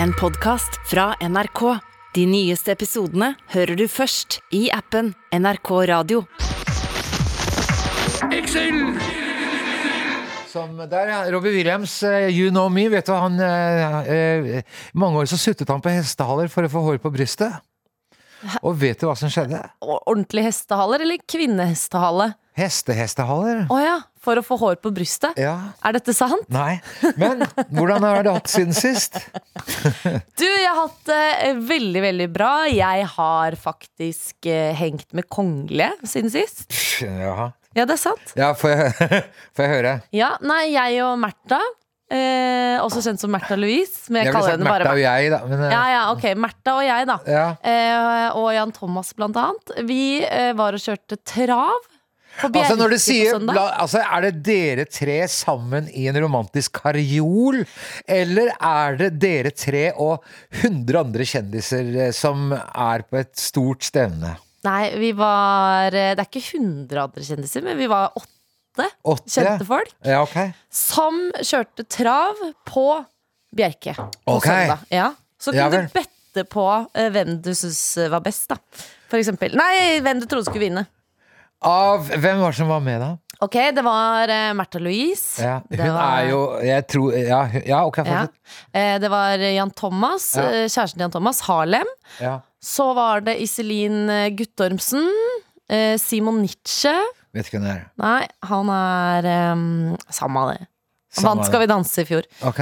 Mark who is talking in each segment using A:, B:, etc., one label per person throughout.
A: En podcast fra NRK. De nyeste episodene hører du først i appen NRK Radio.
B: Som der, ja. Robbie Williams, eh, You Know Me. Vet du, han eh, eh, Mange år så suttet han på hestehaler for å få hår på brystet. Og vet du hva som skjedde?
C: ordentlig hestehaler eller kvinnehestehale?
B: Hestehestehaler.
C: Å ja, for å få hår på brystet.
B: Ja.
C: Er dette sant?
B: Nei. Men hvordan har det hatt siden sist?
C: Du, jeg har hatt det eh, veldig, veldig bra. Jeg har faktisk eh, hengt med kongelige siden sist.
B: Jaha.
C: Ja, det er sant.
B: Ja, får jeg, får jeg høre?
C: Ja, nei, jeg og Märtha, eh, også kjent som Märtha Louise, men jeg,
B: ville
C: kaller
B: sagt
C: henne bare
B: Märtha og
C: Märtha.
B: jeg, da. Men, eh,
C: Ja, ja, ok, Märtha og jeg, da.
B: ja.
C: Eh, og Jan Thomas, blant annet. Vi eh, var og kjørte trav. På
B: Altså når du
C: Bjerke på
B: sier
C: søndag.
B: la, altså, Er det dere tre sammen i en romantisk karjol? Eller er det dere tre og 100 andre kjendiser eh, som er på et stort stevne?
C: Nei, vi var eh, Det er ikke 100 andre kjendiser, men vi var åtte
B: Åtte?
C: kjente folk
B: Ja, ok.
C: som kjørte trav på Bjerke på
B: Ok.
C: søndag. Ja. Så
B: Ja
C: kunne
B: vel.
C: du bette på eh, hvem du syntes var best, da. For eksempel. Nei, hvem du trodde skulle vinne.
B: Av hvem var det som var med, da?
C: Ok, det var uh, Märtha Louise.
B: Ja,
C: Det
B: hun
C: var-
B: er jo jeg tror, ja, hun- ja, ok,
C: ja.
B: fortsett.
C: Eh, Det var Jan Thomas,
B: Ja.
C: eh, kjæresten til Jan Thomas, Harlem.
B: Ja.
C: Så var det Iselin eh, Guttormsen. eh, Simon Nietzsche.
B: Vet ikke hvem det er.
C: Nei, han er um, Samme av det. Han
B: Samme
C: vant
B: av
C: Skal vi danse i fjor.
B: Ok.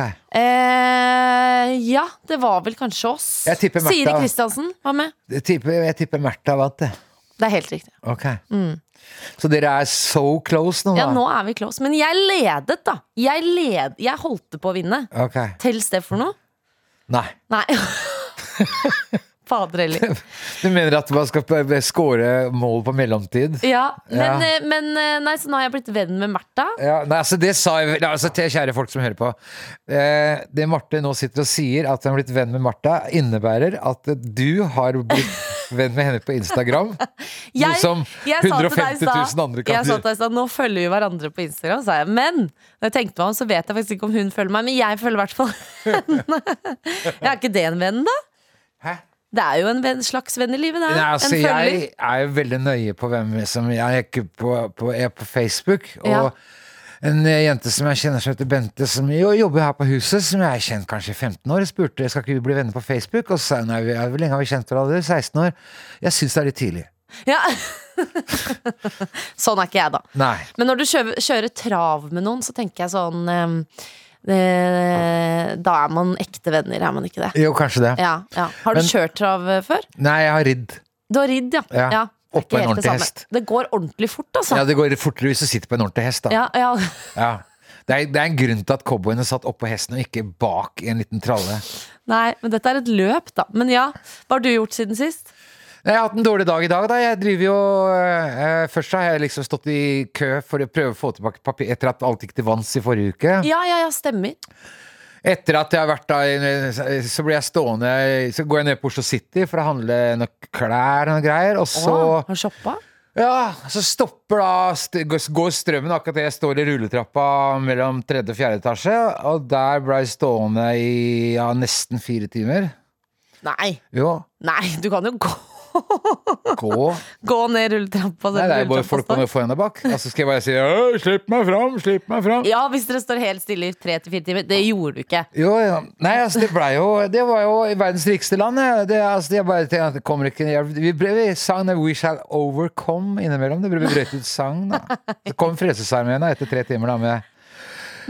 C: Eh, ja, det var vel kanskje oss.
B: Jeg tipper Martha.
C: Siri Kristiansen var med.
B: Jeg tipper, jeg tipper Märtha vant, det.
C: Det er helt riktig.
B: Ok. Så dere er so close nå, da?
C: Mm. Ja, nå er vi close. Men jeg ledet, da. Jeg, led, jeg holdt på å vinne.
B: Ok.
C: Telles det for noe?
B: Nei.
C: Nei. Fader heller.
B: Du mener at man skal p- score mål på mellomtid?
C: Ja, men,
B: Ja.
C: eh, men eh, nei, så nå har jeg blitt venn med Märtha.
B: Ja, nei, altså det sa jeg vel- altså til kjære folk som hører på. Eh, det Marte nå sitter og sier, at hun har blitt venn med Martha, innebærer at du har blitt venn med henne på Instagram. noe som
C: jeg sa til deg i
B: 150
C: stad-
B: 000 andre kan
C: Jeg sa
B: gjøre.
C: til deg i stad, nå følger vi hverandre på Instagram, sa jeg. Men når jeg tenkte meg om, så vet jeg faktisk ikke om hun følger meg, men jeg følger i hvert fall henne. Ja, er ikke det en venn, da?
B: Hæ?
C: Det er jo en venn, slags venn i livet, det.
B: Nei,
C: er
B: altså,
C: en følger.
B: jeg er jo veldig nøye på hvem som Jeg er ikke på, på, jeg er på Facebook. Og
C: Ja.
B: en eh, jente som jeg kjenner som heter Bente, som jo jobber her på huset, som jeg har kjent kanskje i 15 år, spurte skal ikke vi bli venner på Facebook. Og så sa jeg nei, vi er- hvor lenge har vi kjent hverandre? 16 år. Jeg syns det er litt tidlig.
C: Ja. sånn er ikke jeg, da.
B: Nei.
C: Men når du kjører, kjører trav med noen, så tenker jeg sånn eh, eh, Da er man ekte venner, er man ikke det?
B: Jo, kanskje det.
C: Ja, ja. Har du
B: Men-
C: kjørt trav eh, før?
B: Nei, jeg har ridd.
C: Du har ridd, ja.
B: Ja.
C: Det er
B: Oppå en
C: ikke helt det
B: ordentlig
C: samme.
B: hest.
C: Det går ordentlig fort, altså.
B: Ja, det går fortere hvis du sitter på en ordentlig hest, da.
C: Ja, ja.
B: Ja. Det, er, det er en grunn til at cowboyene satt oppå hesten og ikke bak i en liten tralle.
C: Nei, men dette er et løp, da. Men ja, hva har du gjort siden sist?
B: Jeg har hatt en dårlig dag i dag, da. Jeg driver jo eh, Først har jeg liksom stått i kø for å prøve å få tilbake papir etter at alt gikk til vanns i forrige uke.
C: Ja, ja, ja, stemmer.
B: Etter at jeg har vært da eh, Så blir jeg stående Så går jeg ned på Oslo City for å handle noe klær og noe greier, og så
C: Å, har du shoppa?
B: Ja, så stopper da st- Går strømmen akkurat da jeg står i rulletrappa mellom tredje og fjerde etasje, og der ble jeg stående i ja, nesten fire timer.
C: Nei,
B: Jo,
C: nei, du kan jo gå,
B: gå.
C: gå ned rulletrappa.
B: Nei,
C: selv om
B: det er jo bare
C: rulletrappa
B: folk på
C: står.
B: noe foran deg bak. Altså skal jeg bare si «Øy, 'slipp meg fram', 'slipp meg fram'.
C: sånn. Ja, hvis dere står helt stille i tre til fire timer. Det gjorde du ikke.
B: Jo, ja. Nei, altså det blei jo Det var jo i verdens rikeste land. jeg. Det, altså, jeg bare tenkte at det kommer ikke jeg, Vi, bre- vi sang den 'We Shall Overcome' innimellom. Det ble vi brøt ut sang, da. Så kom Frelsesarmeen da, etter tre timer da med,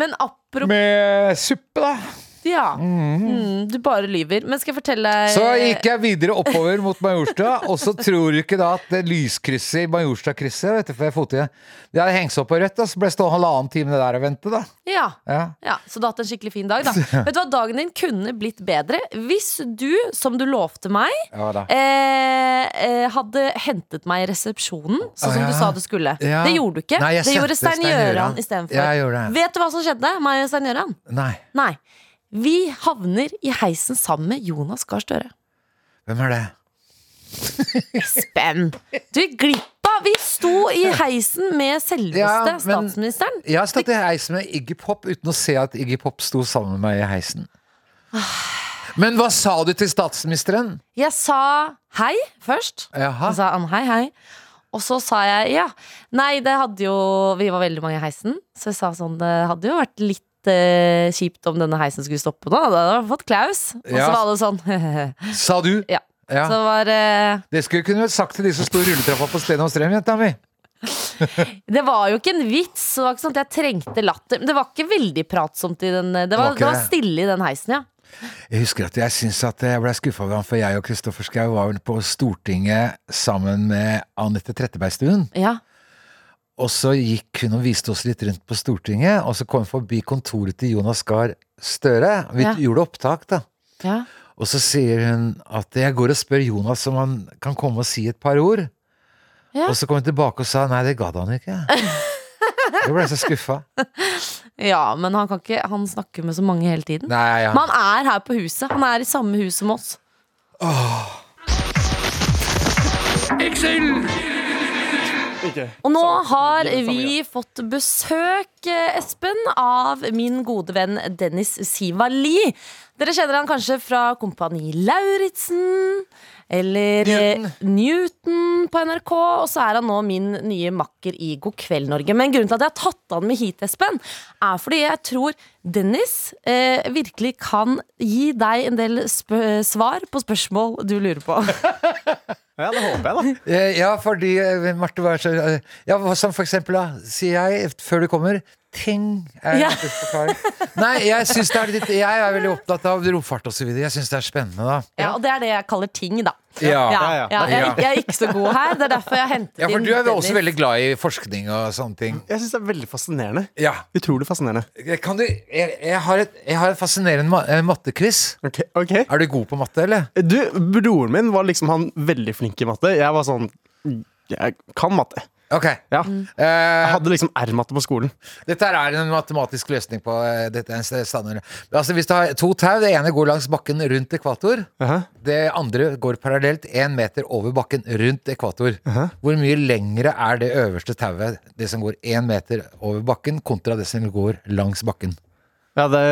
C: Men apropos
B: med suppe, da.
C: Ja. Mm, du bare lyver. Men skal jeg fortelle deg
B: Så gikk jeg videre oppover mot Majorstua, og så tror du ikke da at det lyskrysset i Majorstua-krysset vet du, for jeg fotet, Det hadde hengt seg opp på rødt, da, så ble jeg stående halvannen time der og vente, da.
C: Ja.
B: Ja.
C: Ja, Så du har hatt en skikkelig fin dag, da. Vet du hva, dagen din kunne blitt bedre hvis du, som du lovte meg,
B: Ja, da.
C: eh, eh, hadde hentet meg i resepsjonen, sånn som
B: Å, ja.
C: du sa du skulle.
B: Ja.
C: Det gjorde du ikke.
B: Nei, jeg
C: det gjorde
B: sendte
C: Stein
B: Stein Gjøran.
C: Gjøran istedenfor.
B: Jeg gjorde det.
C: Vet du hva som skjedde, meg og Stein Gjøran?
B: Nei,
C: Nei. Vi havner i heisen sammen med Jonas Gahr Støre.
B: hvem er det?
C: Espen! Du gikk glipp av! Vi sto i heisen med selveste
B: Ja, men-
C: statsministeren.
B: Jeg har stått i heisen med Iggy Pop uten å se at Iggy Pop sto sammen med meg i heisen. Men hva sa du til statsministeren?
C: Jeg sa hei først.
B: Jaha.
C: Så sa han hei, hei. Og så sa jeg ja. Nei, det hadde jo Vi var veldig mange i heisen, så jeg sa sånn Det hadde jo vært litt eh, kjipt om denne heisen skulle stoppe nå. Da hadde jeg fått klaus. Og så
B: Ja.
C: var alle sånn
B: Sa du?
C: Ja.
B: Ja.
C: Så var eh,
B: Det skulle du kunne sagt til de som sto i rulletrappa på Sten og Strøm, jenta mi.
C: Det var jo ikke en vits. Det var ikke sånn at jeg trengte latter. Men det var ikke veldig pratsomt i den Det
B: var
C: var,
B: ikke
C: det var
B: det.
C: stille i den heisen, ja.
B: Jeg husker at jeg syns at jeg ble skuffa over ham, for jeg og Kristoffer Schau var vel på Stortinget sammen med Anette Trettebergstuen.
C: ja.
B: Og så gikk hun og viste oss litt rundt på Stortinget, og så kom vi forbi kontoret til Jonas Gahr Støre. Vi
C: Ja.
B: gjorde opptak, da.
C: Ja.
B: Og så sier hun at jeg går og spør Jonas om han kan komme og si et par ord.
C: Ja.
B: Og så kom hun tilbake og sa nei, det gadd han ikke. Jeg ble så skuffa.
C: ja, men han kan ikke Han snakker med så mange hele tiden.
B: Nei, ja.
C: Men han er her på huset. Han er i samme hus som oss. Og nå har vi fått besøk, eh, Espen, av min gode venn Dennis Sivali. Dere kjenner han kanskje fra Kompani Lauritzen eller eh, Newton på NRK. Og så er han nå min nye makker i God kveld, Norge. Men grunnen til at jeg har tatt han med hit, Espen, er fordi jeg tror Dennis eh, virkelig kan gi deg en del spø svar på spørsmål du lurer på.
D: Ja, det håper jeg, da.
B: Eh, ja, fordi eh, Marte var så eh, Ja, hva som for eksempel, da, sier jeg før du kommer. Ting er
C: Ja.
B: en forklaring. Nei, jeg syns det er litt Jeg er veldig opptatt av romfart og så videre. Jeg syns det er spennende, da.
C: Ja, og det er det jeg kaller ting, da.
B: Ja.
C: ja,
D: ja,
C: ja.
D: ja.
C: Jeg, er ikke- jeg er ikke så god her. Det er derfor jeg har hentet
B: Ja, for
C: inn
B: du er vel også
C: Dennis.
B: veldig glad i forskning og sånne ting.
D: Jeg syns det er veldig fascinerende.
B: Ja.
D: Utrolig fascinerende.
B: Kan du Jeg, jeg har et, jeg har et fascinerende ma eh, mattequiz.
D: Ok, ok.
B: Er du god på matte, eller?
D: Du, broren min var liksom han veldig flink i matte. Jeg var sånn Jeg kan matte.
B: Ok.
D: Ja. Jeg
B: Eh,
D: hadde liksom R-matte på skolen.
B: dette her er en matematisk løsning på eh, dette. er en st- standard. Altså, hvis du har to tau, det ene går langs bakken rundt ekvator.
D: Aha.
B: Det andre går parallelt én meter over bakken rundt ekvator. Hvor mye lengre er det øverste tauet, det som går én meter over bakken, kontra det som går langs bakken?
D: Ja, det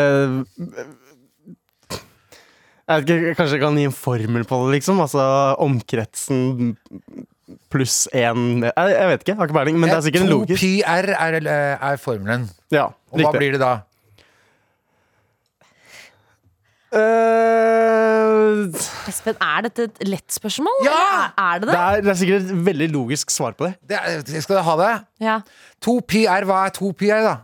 D: Jeg vet ikke, Kanskje jeg kan gi en formel på det, liksom? Altså omkretsen pluss én jeg, jeg vet ikke, jeg har ikke peiling. Men det er sikkert en
B: 2
D: logisk
B: pi r er, eh, er formelen.
D: Ja,
B: Og hva blir det da?
D: Eh,
C: Espen, er dette et lett spørsmål?
B: Ja!
C: eller Er det
D: det,
C: det?
D: er, det er sikkert et veldig logisk svar på det.
B: det er, skal du ha det?
C: Ja,
B: 2 pi r, hva er 2 pi r, da?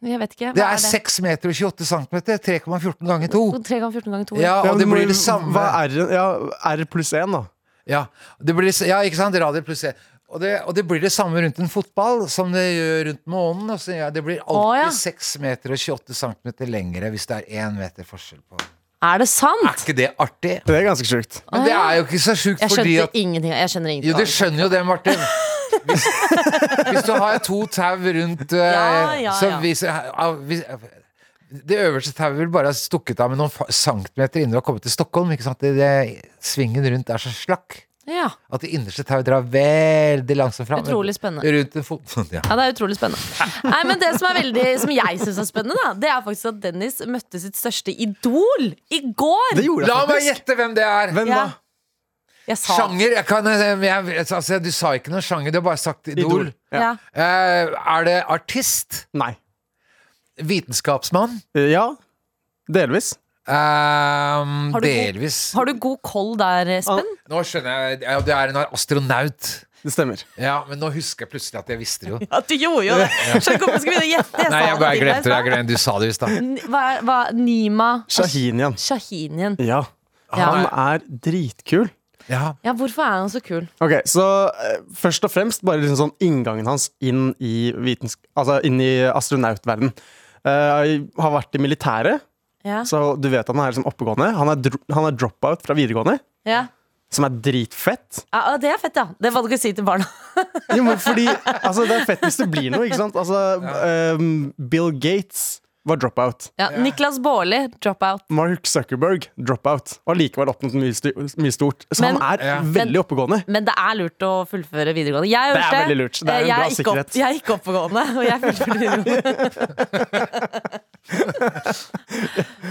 C: jeg vet ikke. Hva
B: Det er 6 meter og 28 centimeter. 3,14 ganger 2.
C: 3 ganger 14 ganger 2.
B: Ja,
D: Ja,
B: og det
D: men
B: blir det samme.
D: Hva er R, ja, R pluss én, da?
B: Ja, det blir, ja ikke sant? Radier pluss E. Og det, og det blir det samme rundt en fotball som det gjør rundt månen. Altså, ja, det blir
C: Å, ja.
B: alltid 6 meter og 28 cm lengre hvis det er 1 meter forskjell på
C: Er det
B: Er
C: sant?
B: ikke det artig?
D: Det er ganske sjukt.
B: Men det er jo ikke så sjukt
C: Jeg
B: fordi
C: skjønte
B: at
C: ingenting. Jeg skjønner ingenting.
B: Jo, du skjønner jo det, Martin. Hvis, hvis du har to tau rundt eh,
C: Ja, ja,
B: Så
C: ja.
B: hvis, ah, hvis Det øverste tauet vil bare ha stukket av med noen fa- centimeter innen du har kommet til Stockholm. Ikke sant? Det, det, svingen rundt er så slakk.
C: ja.
B: At det innerste tauet drar veldig langsomt fram.
C: Utrolig spennende.
B: Rundt en fot. Ja.
C: Ja, det er utrolig spennende. Nei, men Det som er veldig, som jeg syns er spennende, da, det er faktisk at Dennis møtte sitt største idol i går.
D: Det gjorde jeg
B: La meg
D: faktisk.
B: gjette hvem det er!
D: Hvem
C: Ja.
D: da?
C: Jeg sa
B: Sjanger? Jeg kan, jeg, jeg- altså, du sa ikke noen sjanger, du har bare sagt idol.
D: Idol.
C: Ja. Ja.
B: Eh, er det artist?
D: Nei.
B: Vitenskapsmann?
D: Eh, Ja. Delvis.
B: Ehm,
C: Har du god-
B: delvis.
C: Har du god koll der, Espen?
B: Nå skjønner jeg ja, Du er en astronaut.
D: Ah, Det stemmer.
B: Ja, men nå husker jeg plutselig at jeg visste det jo.
C: Ja, du gjorde jo det! Skjønner ikke hvorfor jeg skulle begynne å gjette.
B: Nei,
C: sa
B: jeg bare
C: det Mm.
B: glemte
C: til deg,
B: det. Jeg
C: Espen.
B: glemte, du sa det i stad.
C: N- Hva, er- hva, Nima
D: Shahinian.
C: Shahinian.
D: Ja. Han er dritkul.
B: Ja.
C: Ja, hvorfor er han så kul?
D: Ok, Så eh, først og fremst bare liksom sånn inngangen hans inn i, vitens- altså inn i astronautverden. Eh, har vært i militæret,
C: Ja.
D: så du vet han er liksom oppegående. Han er, dro han er dropout fra videregående,
C: Ja.
D: som er dritfett.
C: Ja, og det er fett, ja. Det var det du ikke si til barna.
D: Jo, men fordi altså, Det er fett hvis det blir noe, ikke sant? Altså, ehm, Bill Gates var dropout.
C: Ja, Niklas Baarli, dropout.
D: Mark Zuckerberg, dropout. Og allikevel oppnådd mye, stu- mye stort. Så
C: Men-
D: han er
B: Ja.
D: veldig oppegående.
C: Men det er lurt å fullføre videregående. Jeg
D: Det er
C: gjorde
D: veldig lurt. Det er en
C: Eh, jeg ikke
D: bra
C: opp-
D: sikkerhet.
C: Jeg er ikke oppegående, og jeg fullførte videregående.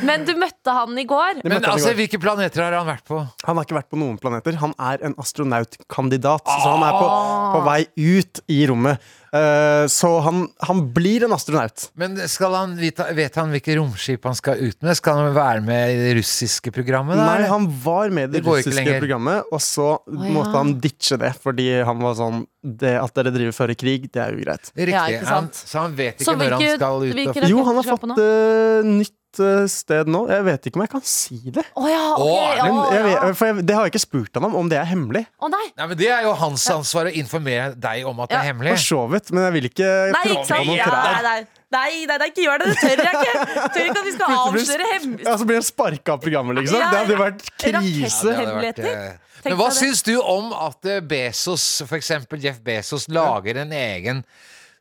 C: Men du møtte han i går.
D: Det
B: Men
D: møtte han i
B: altså,
D: går.
B: hvilke planeter har han vært på?
D: Han har ikke vært på noen planeter. Han er en astronautkandidat. Så han er på,
C: Ah.
D: på vei ut i rommet. Eh, så han, han blir en astronaut.
B: Men skal han vite, vet han hvilke romskip han skal ut med? Skal han være med i det russiske programmet? da,
D: Nei,
B: eller?
D: han var med i det,
B: Det går ikke
D: russiske
B: lenger.
D: programmet, og så
C: ja.
D: måtte han ditche det fordi han var sånn det At dere driver før krig, det er ugreit.
B: Riktig.
C: Ja, ikke
B: han,
C: sant.
B: så han vet ikke
C: Så
B: når han
C: hvilke-
B: skal ut.
C: hvilke
B: og-
C: raketter
D: Jo, han har
C: skal
D: fått
C: på nå?
D: eh, nytt eh, sted nå. Jeg vet ikke om jeg kan si det.
C: Å ja, ok.
B: Å, er
C: ja,
D: Men jeg
C: ja.
D: vet, for jeg, det har jeg ikke spurt han om, om det er hemmelig.
C: Å nei.
B: Nei, men Det er jo hans ansvar å informere deg om at det
C: Ja.
B: er hemmelig.
D: For så vidt, men jeg vil ikke
C: Nei,
D: tråkke
C: ikke sant?
D: på noen
C: Ja, nei,
D: trær.
C: nei. Nei, nei, nei, ikke gjør det! Det tør jeg ikke! Jeg Tør ikke at vi skal avsløre hemmelig
D: Ja, så blir han sparka av programmet, liksom.
C: Ja,
D: Det hadde vært
B: Ja,
D: krise.
B: det hadde vært,
C: Hemmeligheter?
B: eh,
C: Tenk
B: Men hva
C: deg det.
B: syns du om at eh, Bezos, for eksempel Jeff Bezos, lager en egen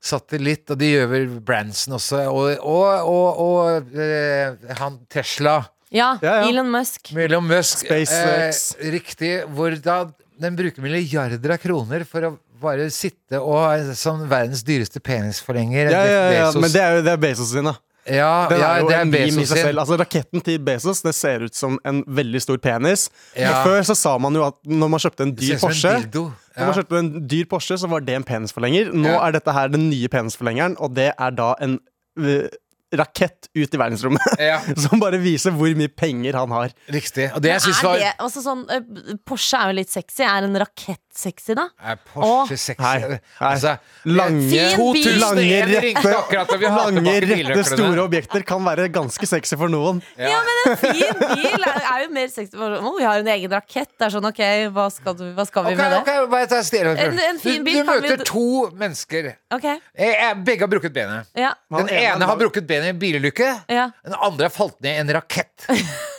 B: satellitt, og det gjør vel Branson også, og, og, og, og eh, han Tesla,
C: Ja,
D: Ja, ja.
C: Elon Musk.
B: Elon Musk,
D: SpaceX.
B: eh, riktig, hvor da den bruker milliarder av kroner for å bare sitte og ha en sånn verdens dyreste penisforlenger.
D: Ja, ja, ja,
B: Jeff Bezos.
D: men det er jo det er Bezos sin, da.
B: ja,
D: Den
B: ja,
D: er jo
B: det
D: en
B: er
D: meme i
B: Bezos
D: seg
B: sin.
D: selv. Altså, raketten til Bezos det ser ut som en veldig stor penis.
B: Ja.
D: Og Før så sa man jo at når man kjøpte en
B: Det ser
D: dyr
B: ut som en
D: Porsche
B: dildo.
D: Når man
B: Ja.
D: kjøpte en dyr Porsche, så var det en penisforlenger. Nå
B: Ja.
D: er dette her den nye penisforlengeren, og det er da en øh, rakett ut i verdensrommet.
B: Ja,
D: Som bare viser hvor mye penger han har.
B: riktig. Og det jeg syns
C: Er
B: var
C: det, altså sånn, eh, Porsche er jo litt sexy. Er en rakett sexy, da?
B: Er Porsche sexy? Altså,
D: Nei, nei. Lange,
C: Fin bil.
B: 2001
D: lange,
B: ringte
D: rette,
B: akkurat, og vi har
D: lange,
B: tilbake
D: rette,
B: bilnøklene.
D: store objekter kan være ganske sexy for noen.
C: Ja, men en fin bil er, er jo mer sexy. Å, vi har en egen rakett. Det er sånn, ok, hva skal, du, hva skal vi
B: Ok,
C: med det?
B: ok, bare ta stille meg først.
C: En- en fin bil
B: du, du
C: kan vi-
B: møter to mennesker.
C: Ok,
B: Eh, eh, Begge har brukket benet.
C: ja,
B: Den
D: Han
B: ene
D: ene
B: har
D: har-
B: brukket benet i en bilulykke.
C: ja.
B: Den andre har falt ned i en rakett.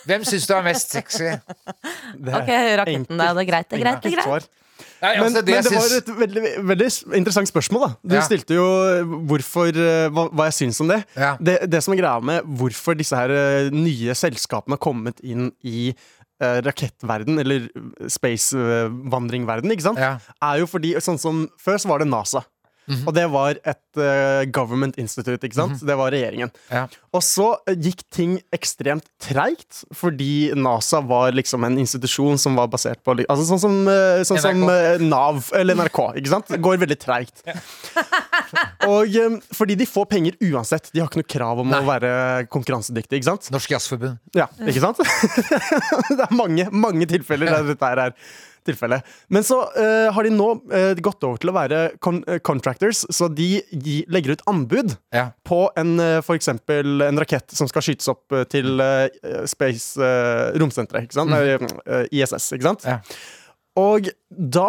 B: Hvem syns du er mest sexy? Nei,
D: Det er
C: Ok, raketten der, det er greit, det er greit, det er
D: enkelt
C: greit.
D: svar. Men,
B: altså,
D: det, men
B: jeg
D: det var
B: syns-
D: et veldig, veldig interessant spørsmål. da Du
B: Ja.
D: stilte jo hvorfor, eh, hva, hva jeg syns om det.
B: Ja.
D: det. Det som er greia med hvorfor disse her eh, nye selskapene har kommet inn i eh, rakettverden, eller eh, spacevandringverden, ikke sant?
B: Ja. Mhm.
D: er jo fordi sånn som Før så var det NASA. Og det var et eh, government institute, ikke sant? Det var regjeringen.
B: Ja.
D: Og så eh, gikk ting ekstremt treigt, fordi NASA var liksom en institusjon som var basert på li- Altså sånn som, eh, sånn som
B: NRK.
D: eh, Nav eller NRK, ikke sant? Det går veldig treigt. Og eh, fordi de får penger uansett. De har ikke noe krav om å være konkurransedyktige, ikke sant?
B: Norsk Jazzforbund.
D: Ja, ikke sant? det er mange, mange tilfeller der dette her er tilfellet. Men så eh, har de nå eh, gått over til å være con eh, contractors, så de gi, legger ut anbud
B: Ja.
D: på en, eh, for eksempel en rakett som skal skytes opp eh, til eh, space eh, romsenteret, ikke sant? Nei, eh, ISS, ikke sant?
B: Ja.
D: Og da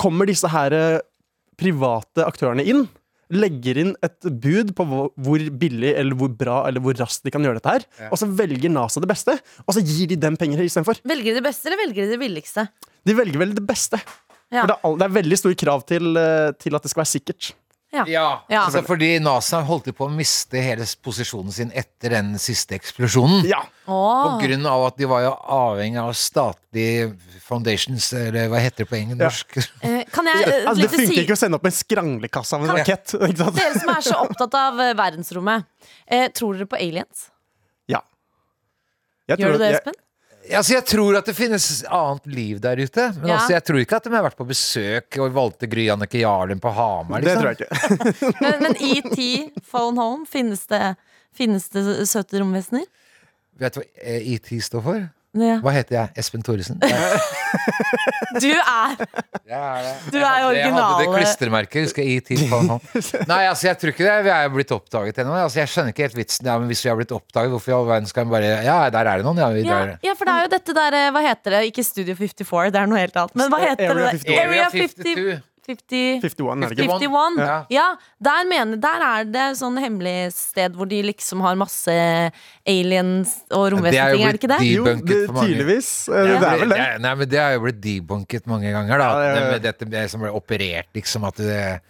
D: kommer disse her eh, private aktørene inn, legger inn et bud på hvor hvor billig eller hvor bra eller hvor raskt de kan gjøre dette her, og så velger NASA det beste, og så gir de dem penger istedenfor.
C: Velger de det beste, eller velger de det billigste?
D: De velger vel det beste.
C: Ja.
D: For det er, all, det er veldig stor krav til, eh, til at det skal være sikkert.
B: Ja.
C: Ja.
B: Altså, fordi NASA holdt på å miste hele posisjonen sin etter den siste eksplosjonen.
D: Ja.
B: På
C: Åh,
B: grunn av at de var jo avhengig av statlige foundations, eller hva heter det på engelsk?
D: Ja.
B: Norsk?
C: eh, kan jeg eh,
D: Altså, det
C: lite
D: funker
C: si
D: ikke å sende opp en skranglekasse av en
B: Kan-
D: rakett. Ikke sant?
C: Dere som er så opptatt av eh, verdensrommet, eh, tror dere på aliens?
D: Ja. Jeg tror
C: Gjør du det,
D: at- jeg-
C: Espen?
B: Altså, jeg tror at det finnes annet liv der ute. Men
C: Ja.
B: altså, jeg tror ikke at de har vært på besøk og valgte Gry Annike Jarlin på Hamar.
D: Det
B: Liksom.
D: tror jeg ikke.
C: Men, men E ET, Phone Home, finnes det, finnes det søte romvesener?
B: Vet du hva eh, ET står for?
C: Ja.
B: Hva heter jeg? Espen Thoresen? Nei,
C: Du er
B: jeg er det. Jeg hadde-
C: Du er
B: Jeg hadde det
C: originale.
B: klistremerket. Husker jeg ET på nå? Nei, altså, jeg tror ikke det. Vi er jo blitt oppdaget ennå. Altså, jeg skjønner ikke helt vitsen. Ja, men hvis vi har blitt oppdaget, hvorfor i all verden skal vi bare Ja, der er det noen. Ja, vi,
C: ja,
B: der.
C: ja, for det er jo dette der eh, Hva heter det? Ikke Studio 54, det er noe helt annet. Men hva heter
D: Area
C: det?
D: 52.
C: Area 50, 50
D: 51, er det ikke?
C: 51. Ja.
B: Ja.
C: der, mener, der er det sånn hemmelig sted hvor de liksom har masse aliens
B: Det
C: og
B: er jo
C: romvesenting, er det ikke det?
B: blitt
D: Jo,
B: debunket
D: det,
B: for mange.
D: tydeligvis. Eh, Det er vel det.
B: Nei, men det har jo blitt debunket mange ganger, da.
D: Ja, ja, ja.
B: Med Dette med- som ble operert, liksom. At det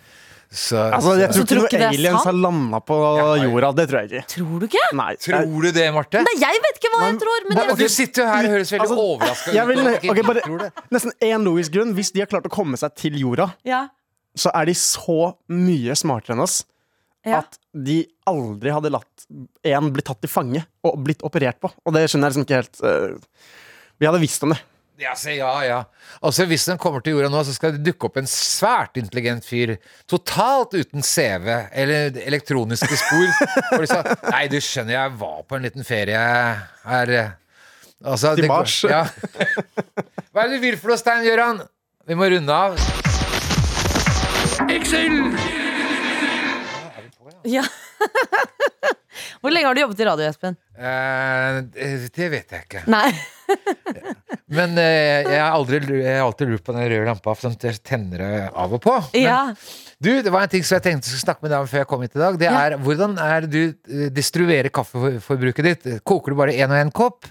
B: så,
D: Altså, jeg tror
C: tror ikke
D: ikke
C: det
D: noen
C: er
D: aliens
C: sant?
D: har landa på
B: Ja, nei.
D: jorda. Det tror jeg ikke.
C: Tror du ikke?
D: Nei. Eh,
B: Tror du det, Marte?
C: Nei, jeg vet ikke hva jeg tror, men
B: Nei, men
C: jeg,
B: du sitter jo her og høres veldig
D: Altså,
B: overraska ut.
D: Jeg vil,
B: over at
D: ok,
B: ikke du tror
D: bare,
B: det.
D: nesten én logisk grunn. Hvis de har klart å komme seg til jorda,
C: ja.
D: så er de så mye smartere enn oss
C: Ja.
D: at de aldri hadde latt en bli tatt til fange og blitt operert på. Og det skjønner jeg liksom ikke helt. eh, Vi hadde visst om det.
B: Ja, se, ja, ja. Altså, hvis den kommer til jorda nå, så skal det dukke opp en svært intelligent fyr. Totalt uten CV eller elektroniske spor. For de sa Nei, du skjønner, jeg var på en liten ferie her eh, altså,
D: Til
B: det går-
D: Mars.
B: Ja. Hva er det du vil for noe, Stein Gøran? Vi må runde av.
C: Ja. Hvor lenge har du jobbet i radio, Espen?
B: Eh, det vet jeg ikke.
C: Nei.
B: Men eh, jeg, har aldri, jeg har alltid lurt på den røde lampa, for den tenner jeg av og på. Men
C: Ja.
B: Du, det var en ting som jeg tenkte jeg skulle snakke med deg om før jeg kom hit i dag. Det
C: Ja.
B: er Hvordan er du eh, distribuerer kaffeforbruket ditt? Koker du bare én og én kopp?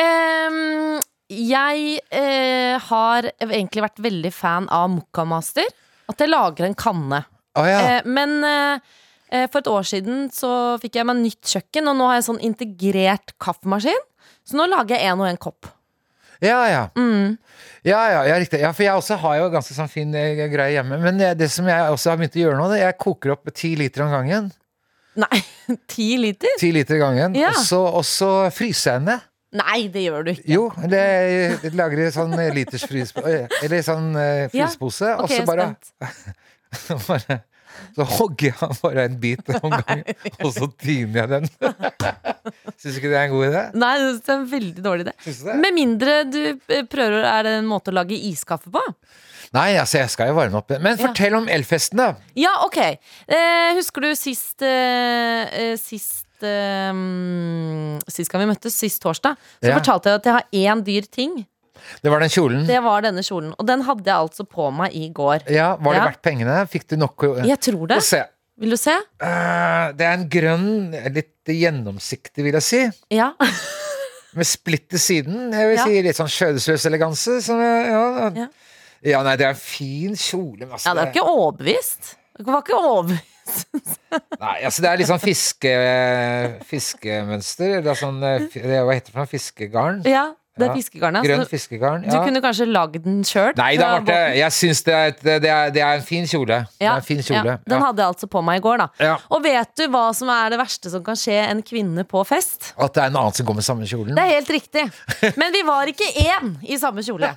C: Ehm, jeg eh, har egentlig vært veldig fan av Mokkamaster. At jeg lager en kanne.
B: Å ja.
C: Eh, men eh, eh, for et år siden så fikk jeg meg nytt kjøkken, og nå har jeg sånn integrert kaffemaskin. Så nå lager jeg én og én kopp.
B: ja, ja.
C: Mm.
B: Ja, ja, ja, riktig. Ja, for jeg også har jo ganske sånn fin eh, greie hjemme. Men eh, det som jeg også har begynt å gjøre nå, det er jeg koker opp ti liter om gangen.
C: Nei, ti liter?
B: Ti liter om gangen.
C: Ja.
B: Og, så, og så fryser jeg den ned.
C: Nei, det gjør du ikke.
B: Jo, eller jeg lager en sånn eh, liters frys... Eller sånn eh,
C: Ja.
B: frysepose.
C: Ok,
B: og så
C: jeg er
B: bare
C: spent.
B: Så bare så hogger jeg bare en bit om gangen, og så tiner jeg den. Syns du ikke det er en god idé?
C: Nei, det er en veldig dårlig idé.
B: Syns du det?
C: Med mindre du eh, prøver å- Er det en måte å lage iskaffe på?
B: Nei, altså, jeg skal jo varme opp. Men
C: Ja.
B: fortell om elfesten, da.
C: Ja, ok. Eh, husker du sist eh, eh, Sist eh, mm, Sist gang vi møttes, sist torsdag, så
B: Ja. Mm.
C: fortalte jeg at jeg har én dyr ting.
B: Det var den kjolen.
C: Det var denne kjolen. Og den hadde jeg altså på meg i går.
B: Ja, Var det
C: Ja.
B: verdt pengene? Fikk du nok å
C: Jeg tror det.
B: Få se.
C: Vil du se?
B: Eh, det er en grønn, litt gjennomsiktig, vil jeg si.
C: Ja.
B: Med splitt til siden. Jeg vil
C: Ja.
B: si Litt sånn skjødesløs eleganse. Som, ja,
C: Ja.
B: ja. ja, nei, det er en fin kjole. Men, altså,
C: ja det er ikke overbevist. Det var ikke overbevist.
B: Nei, altså det er litt sånn fiske, fiskemønster. Eller sånn, eh, fi- det- hva heter det for noe? Fiskegarn?
C: Ja, det er
B: Ja.
C: fiskegarnet.
B: Grønn
C: Altså,
B: fiskegarn.
C: du
B: Ja.
C: kunne kanskje lagd den sjøl.
B: Nei da, Marte. Jeg syns det, er et- det, er- det er en fin kjole. Det er en fin
C: Ja,
B: kjole.
C: den
B: Ja.
C: hadde jeg altså på meg i går, da.
B: Ja.
C: Og vet du hva som er det verste som kan skje en kvinne på fest?
B: At det er en annen som går med samme kjolen.
C: Det er helt riktig. Men vi var ikke én i samme kjole.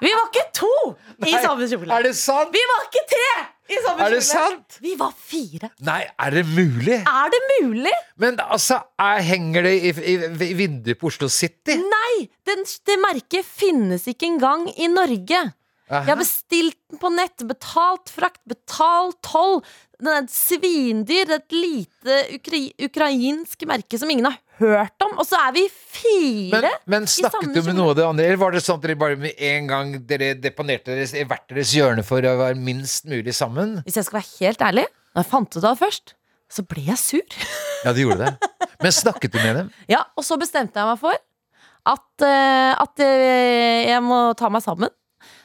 C: Vi var ikke to i samme kjole.
B: Er det sant?
C: Vi var ikke tre i samme
B: Er det
C: kjole.
B: sant?
C: Vi var fire.
B: Nei, er det mulig?
C: Er det mulig?
B: Men altså, er, henger det i, i, i vinduet på Oslo City?
C: Nei! Den, det merket finnes ikke engang i Norge. Jeg har bestilt den på nett, betalt frakt, betalt toll. Den er et svindyr, det er et lite ukri ukrainsk merke som ingen har hørt om. Og så er vi fire!
B: Men, men
C: samme
B: snakket du
C: kjole.
B: med noe av det andre, eller var det sånn at dere bare med en gang dere deponerte deres, i hvert deres hjørne for å være minst mulig sammen?
C: Hvis jeg skal være helt ærlig, når jeg fant ut av det først, så ble jeg sur.
B: Ja, du gjorde det. Men snakket du med dem?
C: Ja, og så bestemte jeg meg for at, eh, at eh, jeg må ta meg sammen.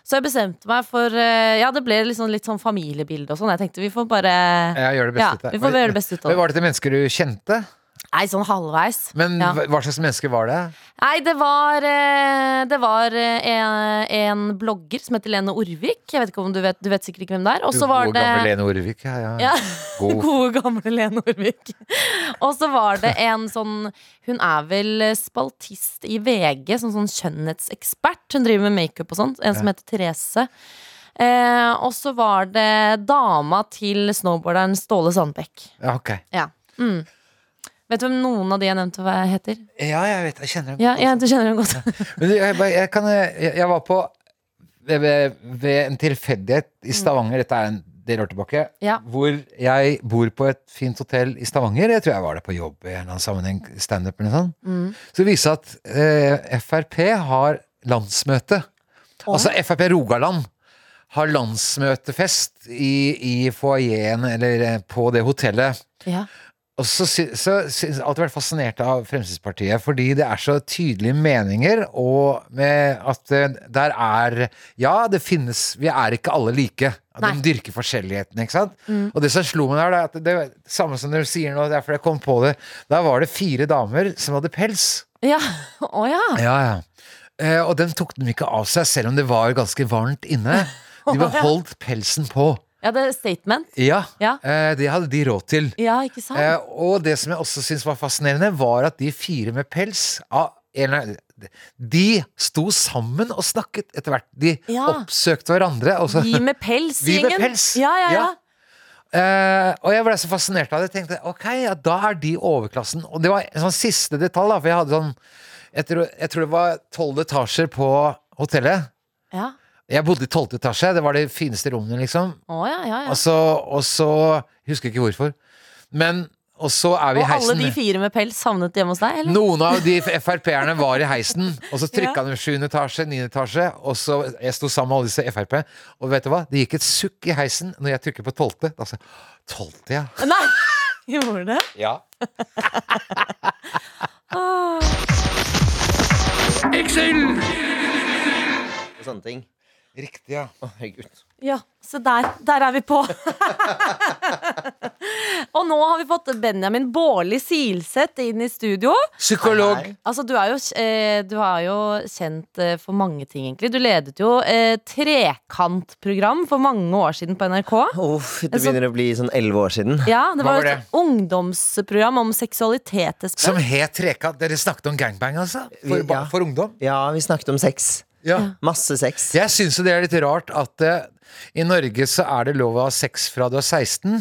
C: Så jeg bestemte meg for eh, Ja, det ble liksom litt sånn familiebilde og sånn. Jeg tenkte vi får bare
B: Ja, gjør det beste
C: Ja,
B: ut av
C: vi får gjøre det beste ut
B: Men
C: av det.
B: Var det til mennesker du kjente?
C: Nei, sånn halvveis.
B: Men
C: Ja.
B: hva- hva slags mennesker var det?
C: Nei, det var, eh, det var eh, en, en blogger som heter Lene Orvik. Jeg vet ikke om du vet, du vet sikkert ikke hvem det er. Og
B: Du,
C: så var
B: gode, gamle
C: det
B: Lene Orvik. Ja, ja.
C: Ja.
B: God.
C: Gode, gamle Lene Orvik. Og så var det en sånn Hun er vel spaltist i VG, som sånn skjønnhetsekspert. Hun driver med makeup og sånt. En som heter Therese. Eh, og så var det dama til snowboarderen Ståle Sandbekk.
B: Ja, ok.
C: Ja. Mm. Vet du hvem noen av de jeg nevnte, hva heter?
B: Ja, jeg vet, jeg kjenner dem.
C: Ja, ja, du kjenner dem godt.
B: Men du, jeg, bare- jeg, kan, eh, jeg, jeg var på ved, ved, ved en tilfeldighet i Stavanger, dette er en del år tilbake,
C: Ja.
B: hvor jeg bor på et fint hotell i Stavanger. Jeg tror jeg var der på jobb i en eller annen sammenheng, standup eller noe sånt. Så det viser seg at eh, Frp har landsmøte. Altså Frp Rogaland har landsmøtefest i, i foajeen eller eh, på det hotellet.
C: Ja.
B: Og så, sy- så syns jeg alltid vært fascinert av Fremskrittspartiet, fordi det er så tydelige meninger, og med at eh, der er Ja, det finnes Vi er ikke alle like. At
C: Nei. Mm.
B: De dyrker forskjelligheten, ikke sant? Og det som slo meg der, det er at det er det samme som dere sier nå, det er fordi jeg kom på det Der var det fire damer som hadde pels.
C: ja. Å ja.
B: Ja, ja. Eh, og den tok de ikke av seg, selv om det var ganske varmt inne. De beholdt pelsen på.
C: Ja, Ja, det er statement.
B: Ja,
C: Ja.
B: eh, det hadde de råd til.
C: Ja, ikke sant?
B: Eh, og det som jeg også syntes var fascinerende, var at de fire med pels av en eller annen- De sto sammen og snakket etter hvert. De
C: Ja.
B: oppsøkte hverandre. Og, så,
C: De med pels,
B: De altså, med
C: gjengen.
B: pels.
C: Ja, ja, ja.
B: Ja. eh, og jeg ble så fascinert av det. Tenkte ok, ja, da er de overklassen. Og det var en sånn siste detalj, da, for jeg hadde sånn Jeg tror, jeg tror det var tolv etasjer på hotellet.
C: ja.
B: Jeg bodde i tolvte etasje. Det var de fineste rommene, liksom.
C: Å, ja, ja, ja.
B: Og så, og så Husker ikke hvorfor. Men Og så er vi i
C: Og
B: heisen.
C: alle de fire med pels havnet hjemme hos deg, eller?
B: Noen av de Frp-erne var i heisen, og så trykka de sjuende etasje, niende etasje, og så Jeg sto sammen med alle disse Frp, og vet du hva? Det gikk et sukk i heisen når jeg trykker på tolvte. Da sa jeg, Tolvte, ja.
C: Nei! Gjorde det?
B: ja.
E: og sånne ting.
B: Riktig, ja.
E: Å, herregud.
C: Ja, se der. Der er vi på. og nå har vi fått Benjamin Baarli Silseth inn i studio.
B: Psykolog.
E: Hei, hei.
C: Altså, du er jo, eh, du er jo kjent eh, for mange ting, egentlig. Du ledet jo eh, trekantprogram for mange år siden på NRK.
E: Uff, det begynner å bli sånn elleve år siden.
C: Ja, det
B: Hva
C: var,
B: var
C: et ungdomsprogram om seksualitet, Espen.
B: Som het Trekant. Dere snakket om gangbang, altså? For,
E: Vi- ja.
B: for ungdom?
E: Ja, vi snakket om sex.
B: Ja.
E: Masse sex.
B: Jeg syns jo det er litt rart at eh, i Norge så er det lov å ha sex fra du er 16, men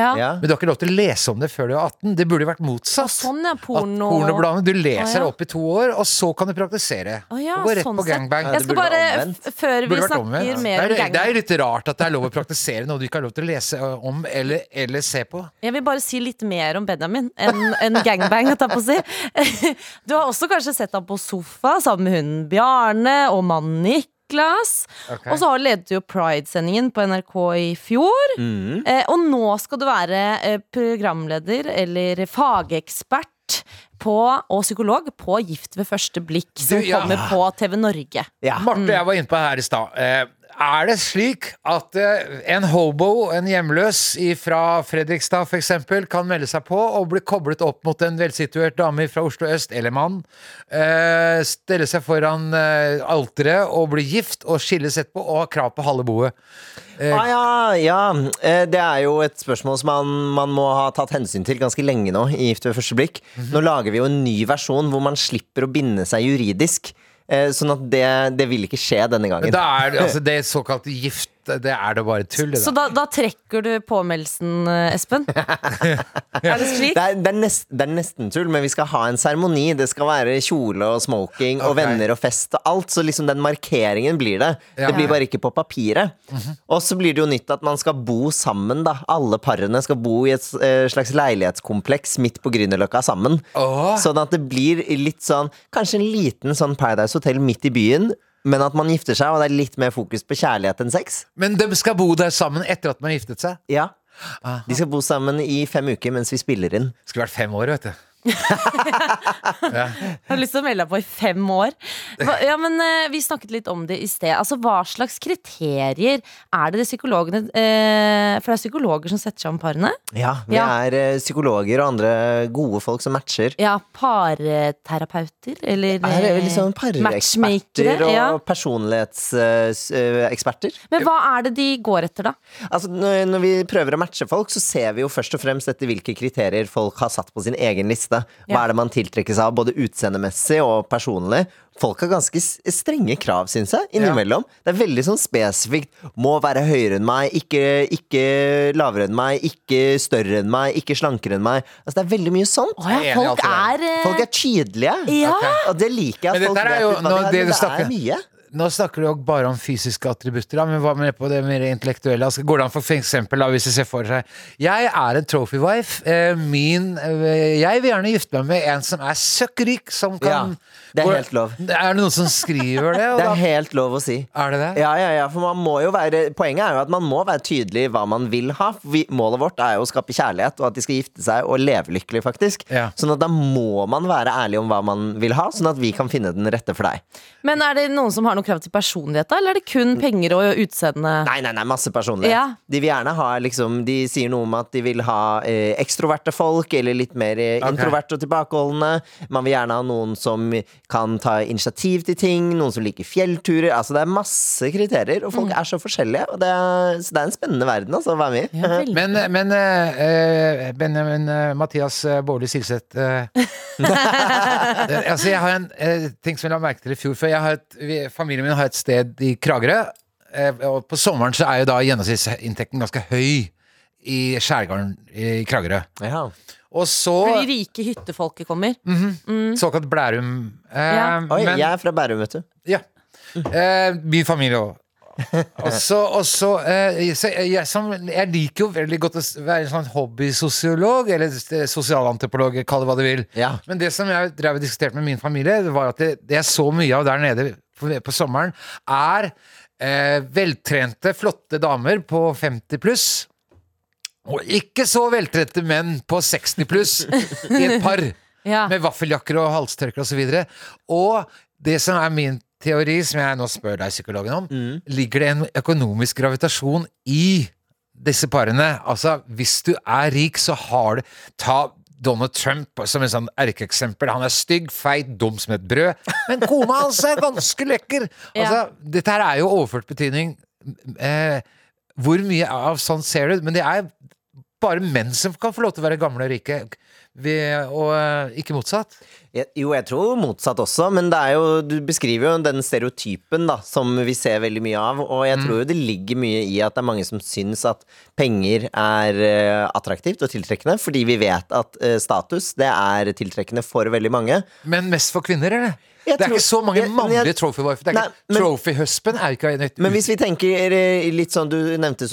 C: Ja.
E: Ja.
B: du har ikke lov til å lese om det før du er 18. Det burde jo vært motsatt.
C: Sånn, ja. Porno.
B: Porno... At pornobladene, du leser
C: Å, ja.
B: opp i to år, og så kan du praktisere.
C: Å, ja,
B: og gå rett
C: sånn
B: på
C: sett.
B: gangbang.
E: Ja,
C: Jeg
E: det
C: skal
E: burde
C: bare,
E: vært
C: f- før vi
B: Burde vært
C: snakker
B: omvendt. det,
C: mer om
B: er, det
C: gangen
B: er litt rart at det er lov å praktisere noe du ikke har lov til å lese ø, om eller, eller se på.
C: Jeg vil bare si litt mer om Benjamin enn enn gangbang. holdt jeg på å si. Du har også kanskje sett ham på sofa sammen med hunden Bjarne og mannen Niklas.
B: Ok.
C: Og så har- ledet du jo Pride-sendingen på NRK i fjor.
B: Mm.
C: Eh, og nå skal du være eh, programleder eller fagekspert på, og psykolog på Gift ved første blikk, som
B: Du, ja.
C: kommer på TV Norge.
E: Ja.
B: Marte,
C: Mm.
B: jeg var inne på her i stad. Eh, Er det slik at eh, en hobo, en hjemløs fra Fredrikstad f.eks., kan melde seg på og bli koblet opp mot en velsituert dame fra Oslo øst, eller mann, eh, stelle seg foran eh, alteret og bli gift og skilles etterpå og ha krav på halve boet?
E: Ah, ja, ja. Eh, Det er jo et spørsmål som man, man må ha tatt hensyn til ganske lenge nå. i Gift ved første blikk. Nå lager vi jo en ny versjon hvor man slipper å binde seg juridisk. eh, Sånn at det, det vil ikke skje denne gangen.
B: Da er det, altså, det såkalte gift, det er da bare tull. Det
C: Så
B: da.
C: da, da trekker du påmeldelsen, eh, Espen? Er det slik?
E: Det er, det, er nest, det er nesten tull, men vi skal ha en seremoni. Det skal være kjole og smoking og
B: Ok.
E: venner og fest og alt. Så liksom den markeringen blir det.
B: Ja. Mhm.
E: Det blir bare ikke på papiret. Og så blir det jo nytt at man skal bo sammen, da. Alle parene skal bo i et eh, slags leilighetskompleks midt på Grünerløkka sammen.
B: Åh.
E: Sånn at det blir litt sånn Kanskje en liten sånn Paradise Hotel midt i byen. Men at man gifter seg, og det er litt mer fokus på kjærlighet enn sex.
B: Men de skal bo der sammen etter at man har giftet seg.
E: Ja De skal bo sammen i fem uker mens vi spiller inn.
B: Skulle vært fem år, vet du.
C: Jeg har lyst til å melde deg på i fem år. Hva- Ja, men eh, Vi snakket litt om det i sted. Altså, Hva slags kriterier er det de psykologene eh, For det er psykologer som setter sammen parene?
E: Ja, vi
C: Ja.
E: er eh, psykologer og andre gode folk som matcher.
C: Ja, parterapeuter? Eller
E: Er det
C: eh,
E: liksom pareeksperter
C: matchmakere?
E: og eh,
C: Ja.
E: personlighetseksperter?
C: Men hva er det de går etter, da?
E: Altså, når når vi prøver å matche folk, så ser vi jo først og fremst etter hvilke kriterier folk har satt på sin egen liste. Hva
C: Ja.
E: er det man tiltrekkes av, både utseendemessig og personlig? Folk har ganske s- strenge krav, syns jeg, innimellom. Det er veldig sånn spesifikt. Må være høyere enn meg, ikke, ikke lavere enn meg, ikke større enn meg, ikke slankere enn meg. Altså, det er veldig mye sånt.
C: Å ja,
B: Jeg er enig i alt
C: folk
B: det
C: er, eh,
E: Folk er tydelige.
C: Ja.
E: Og det liker jeg.
B: Men
E: at folk
B: dette er
E: vet
B: jo
E: litt hva
B: nå
E: de er,
B: det
E: men
B: du
E: det
B: snakker
E: er mye.
B: Nå snakker du jo bare om fysiske attributter, da, men hva med på det mer intellektuelle? Altså, går det an for for eksempel, da, hvis du ser for seg Jeg er en trophy wife. Eh, min, eh, jeg vil gjerne gifte meg med en som er søkkrik, som kan
E: Ja, det er
B: Hvor-
E: helt lov.
B: Er det noen som skriver det? Og
E: Det
B: da,
E: er helt lov å si.
B: er det det?
E: Ja, ja, ja, for man må jo være Poenget er jo at man må være tydelig i hva man vil ha. Vi, målet vårt er jo å skape kjærlighet, og at de skal gifte seg og leve lykkelig, faktisk.
B: Ja.
E: Sånn at da må man være ærlig om hva man vil ha, sånn at vi kan finne den rette for deg.
C: Men er det noen som har det noe krav til personlighet, da? Eller er det kun penger og utseende?
E: Nei, nei, nei, masse personlighet.
C: Ja.
E: De vil gjerne ha liksom De sier noe om at de vil ha eh, ekstroverte folk, eller litt mer eh,
B: Ok.
E: introverte og tilbakeholdne. Man vil gjerne ha noen som kan ta initiativ til ting, noen som liker fjellturer. Altså Det er masse kriterier, og folk
C: Mm.
E: er så forskjellige. Og det er, så det er en spennende verden altså, å være med i.
C: Ja, vel.
B: Men, men eh, eh, Benjamin eh, Mathias eh, Bårli Silseth eh, det, altså Jeg har en eh, ting som jeg la merke til i fjor. For jeg har et, vi, familien min har et sted i Kragerø. eh, og på sommeren så er jo da gjennomsnittsinntekten ganske høy i skjærgården i Kragerø.
E: Ja.
B: Og så
C: For de rike hyttefolket kommer.
B: såkalt Blærum. Eh,
C: Ja.
E: Oi,
B: men-
E: jeg er fra Bærum, vet du.
B: Ja. Eh, min familie òg. Og så, og så, eh, så jeg, som, jeg liker jo veldig godt å s- være en sånn hobbysosiolog, eller s- eh, sosialantropolog, kall det hva du vil.
E: Ja.
B: Men det som jeg drev og diskuterte med min familie, det var at det, det jeg så mye av der nede på, på sommeren, er eh, veltrente, flotte damer på 50 pluss. Og ikke så veltrente menn på 60 pluss i et par
C: Ja.
B: med vaffeljakker og halstørklær osv. Og, det som er min teori, som jeg nå spør deg, psykologen, om, ligger det en økonomisk gravitasjon i disse parene? Altså, hvis du er rik, så har du Ta Donald Trump som en sånn erkeeksempel. Han er stygg, feit, dum som et brød, men kona hans er ganske lekker! Altså, dette her er jo overført betydning. Eh, hvor mye av sånn ser du? Men det er bare menn som kan få lov til å være gamle og rike, vi, og eh, ikke motsatt.
E: Jeg- Jo, jeg tror motsatt også, men det er jo, du beskriver jo den stereotypen da, som vi ser veldig mye av. Og jeg tror jo det ligger mye i at det er mange som syns at penger er eh, attraktivt og tiltrekkende, fordi vi vet at eh, status det er tiltrekkende for veldig mange.
B: Men mest for kvinner, eller?
E: Jeg
B: det er
E: tror-
B: ikke så mange
E: jeg- men jeg-
B: mannlige trophy wife. Det er
E: Nei,
B: ikke,
E: men-
B: trophy husband er jo ikke nytt.
E: Men hvis vi tenker eh, litt sånn, du nevnte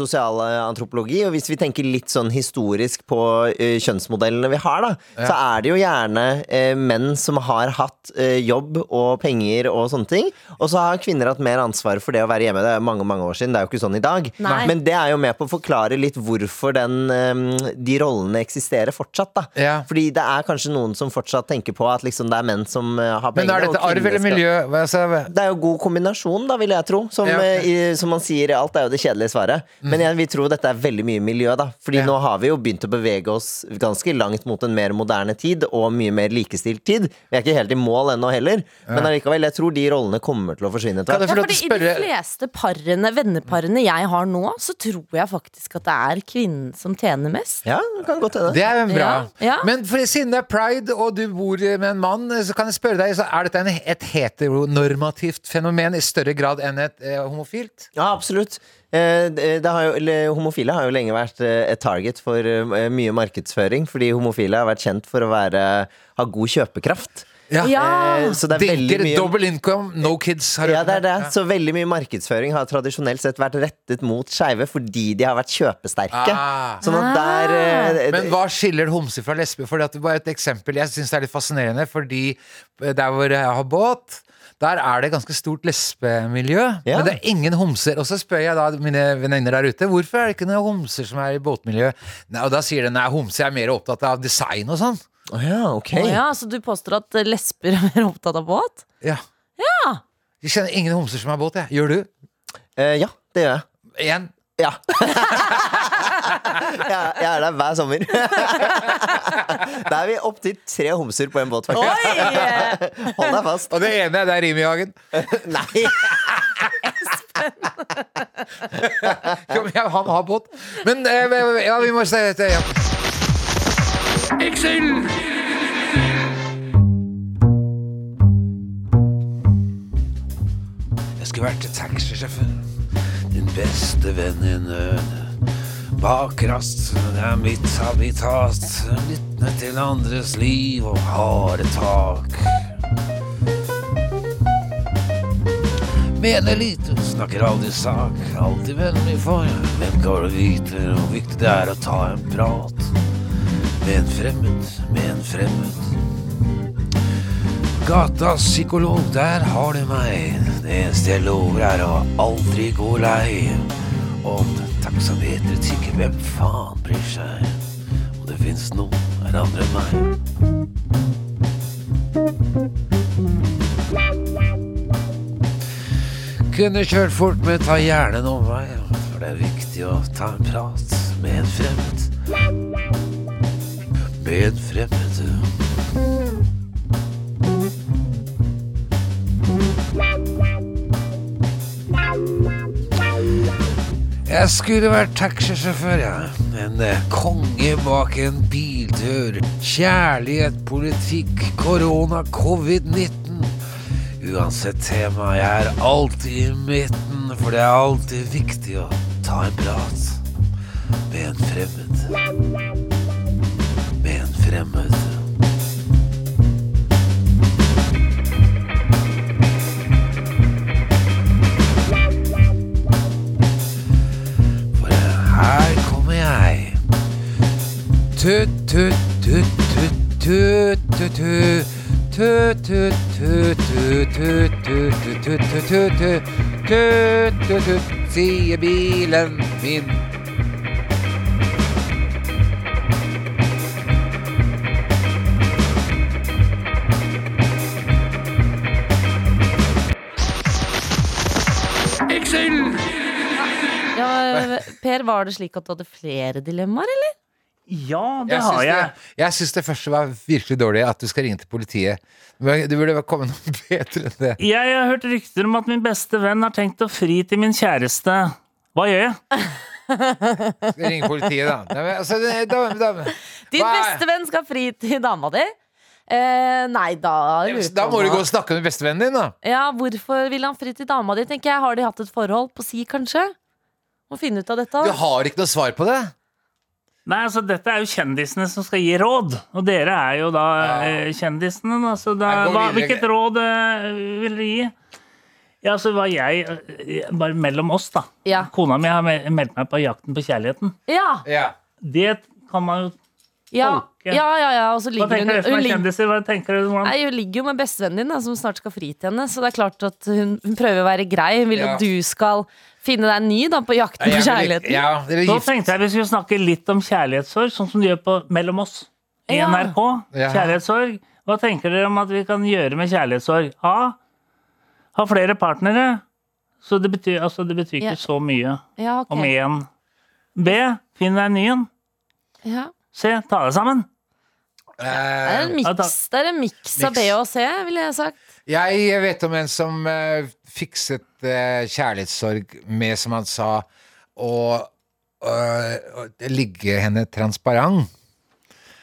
E: sosialantropologi, og hvis vi tenker litt sånn historisk på eh, kjønnsmodellene vi har, da, så er det jo gjerne eh, menn som har hatt eh, jobb og penger og sånne ting, og så har kvinner hatt mer ansvar for det å være hjemme. Det er mange, mange år siden, det er jo ikke sånn i dag.
C: Nei.
E: Men det er jo med på å forklare litt hvorfor den, eh, de rollene eksisterer fortsatt, da.
B: Ja.
E: Fordi det er kanskje noen som fortsatt tenker på at liksom det er menn som eh, har
B: Men
E: penger.
B: er
E: og
B: dette arv
E: kvinner
B: eller
E: skal-
B: miljø? Hva jeg sa?
E: det er jo god kombinasjon, da, vil jeg tro. Som,
B: Ja. Mm.
E: eh, i, som man sier, alt er jo det kjedelige svaret. Men jeg vil tro dette er veldig mye miljø, da. Fordi
B: Ja.
E: nå har vi jo begynt å bevege oss ganske langt mot en mer moderne tid, og mye mer likestilt tid. Vi er ikke helt i mål ennå heller, men allikevel, jeg tror de rollene kommer til å forsvinne etter
B: Kan
E: hvert.
B: jeg
C: Ja,
B: få lov
C: fordi
B: til å
C: I de
B: spørre
C: fleste parene, venneparene jeg har nå, så tror jeg faktisk at det er kvinnen som tjener mest.
E: Ja, det kan godt hende.
B: Det er jo bra.
C: Ja, ja.
B: Men for, siden det er pride, og du bor med en mann, så kan jeg spørre deg, så er dette en, et heteronormativt fenomen i større grad enn et eh, homofilt?
E: Ja, absolutt. Eh, Det det har jo, eller, homofile har jo lenge vært eh, et target for eh, mye markedsføring, fordi homofile har vært kjent for å være, ha god kjøpekraft.
B: Ja.
C: Ja.
E: Eh, Så det er veldig
B: Dinker,
E: mye
B: double income, no kids. Har du
E: Ja,
B: hørt
E: det
B: om
E: er det. Så veldig mye markedsføring har tradisjonelt sett vært rettet mot skeive fordi de har vært kjøpesterke.
B: Ah.
E: Sånn at der eh,
B: Men hva skiller homse fra lesbe? For det er bare et eksempel jeg syns er litt fascinerende, fordi eh, der hvor jeg har båt, der er det ganske stort lesbemiljø.
E: Ja.
B: Men det er ingen homser. Og så spør jeg da mine venninner der ute hvorfor er det ikke noen homser som er i båtmiljø. Nei, og da sier de nei, homser er mer opptatt av design og sånn.
E: Å ja, ok.
C: Å ja, så du påstår at lesber er mer opptatt av båt?
B: Ja. Jeg kjenner ingen homser som har båt, jeg. Gjør du?
E: Eh, ja, det gjør jeg.
B: Én?
E: Ja. jeg, jeg er der hver sommer. da er vi opptil tre homser på en båt, faktisk.
C: Oi! eh,
E: Hold deg fast.
B: Og det ene, det er Rimi-Hagen.
E: Nei.
B: Ja, men jeg- Han har båt. Men eh, ja, vi må se etter. Ja.
F: Jeg skulle vært taxisjåfør. Din beste venn i nød. Bakrast, det er mitt habitat. Vitne til andres liv og harde tak. Mener lite, snakker aldri sak. Alltid vennlig for. Hvem går og vite hvor viktig det er å ta en prat? Med en fremmed, med en fremmed. Gatas psykolog, der har du meg. Det eneste jeg lover er å aldri gå lei. Og taksameteret tikker, hvem faen bryr seg? Om det fins noen er andre enn meg. kunne kjørt fort, men ta gjerne en omvei. For det er viktig å ta en prat med en fremmed. Med en fremmed. Jeg skulle vært taxisjåfør, ja. En eh, konge bak en bildør. Kjærlighet, politikk, korona, covid-19. Uansett tema, jeg er alltid i midten, for det er alltid viktig å ta en prat med en fremmed. Med en fremmed. For her kommer jeg. Tut, tut, tut, tut, tut, tut, tut. Tut, tut, tut, tut, tut, tut, tut, tut, tut, tut, tut. Tut, tut, tut, sier bilen min.
C: Ja, per, var det slik at du hadde flere dilemmaer, eller?
G: Ja, det
B: Jeg syns
G: har jeg.
B: det, jeg syns det første var virkelig dårlig, at du skal ringe til politiet. Men Det burde komme noe bedre enn det.
G: Jeg har hørt rykter om at min beste venn har tenkt å fri til min kjæreste. Hva gjør jeg?
B: Skal ringe politiet, da. Nei, men, altså, det- da, da.
C: Din
B: Hva er-
C: beste venn skal fri til dama di. Eh, nei, da lurer
B: da må
C: jeg på
B: du
C: hva-
B: gå og snakke med bestevennen din, da.
C: Ja, Hvorfor vil han fri til dama di? tenker jeg Har de hatt et forhold? På si, kanskje? Må finne ut av dette.
B: Du har ikke noe svar på det?
G: Nei, altså Dette er jo kjendisene som skal gi råd, og dere er jo da eh, kjendisene. Da, så da,
B: Jeg går
G: hva,
B: videre.
G: hvilket råd eh, vil dere gi? Ja, så var jeg eh, Bare mellom oss, da.
C: Ja.
G: Kona mi har me- meldt meg på Jakten på kjærligheten.
C: Ja,
B: Ja.
G: Det kan man jo
C: ja,
G: Folke.
C: ja, ja, ja. Og så
G: Hva
C: ligger hun,
G: tenker dere som
C: hun,
G: er
C: ligger-
G: kjendiser? Hva tenker dere hvordan...
C: Nei, Hun ligger jo med bestevennen din, da, som snart skal fri til henne. Så det er klart at hun, hun prøver å være grei. Hun vil jo
B: Ja.
C: at du skal finne deg en ny da, på jakten på
B: Jeg vil-
C: kjærligheten.
B: Ja, dere er
G: Så
B: gift.
G: tenkte jeg vi skulle snakke litt om kjærlighetssorg, sånn som de gjør på Mellom oss i
C: Ja.
G: NRK.
B: Ja.
G: Kjærlighetssorg. Hva tenker dere om at vi kan gjøre med kjærlighetssorg? A. Ha flere partnere. Så det betyr, altså, det betyr
C: Ja.
G: ikke så mye
C: Ja, ok.
G: om én. B. Finn deg en ny en.
C: Ja.
G: C. Ta deg sammen.
C: Det er en
B: Eh,
G: Ja, da-
C: miks det er en miks av
B: Miks.
C: B og C, ville jeg sagt.
B: jeg vet om en som eh, fikset eh, kjærlighetssorg med, som han sa, å eh, å ligge henne transparent.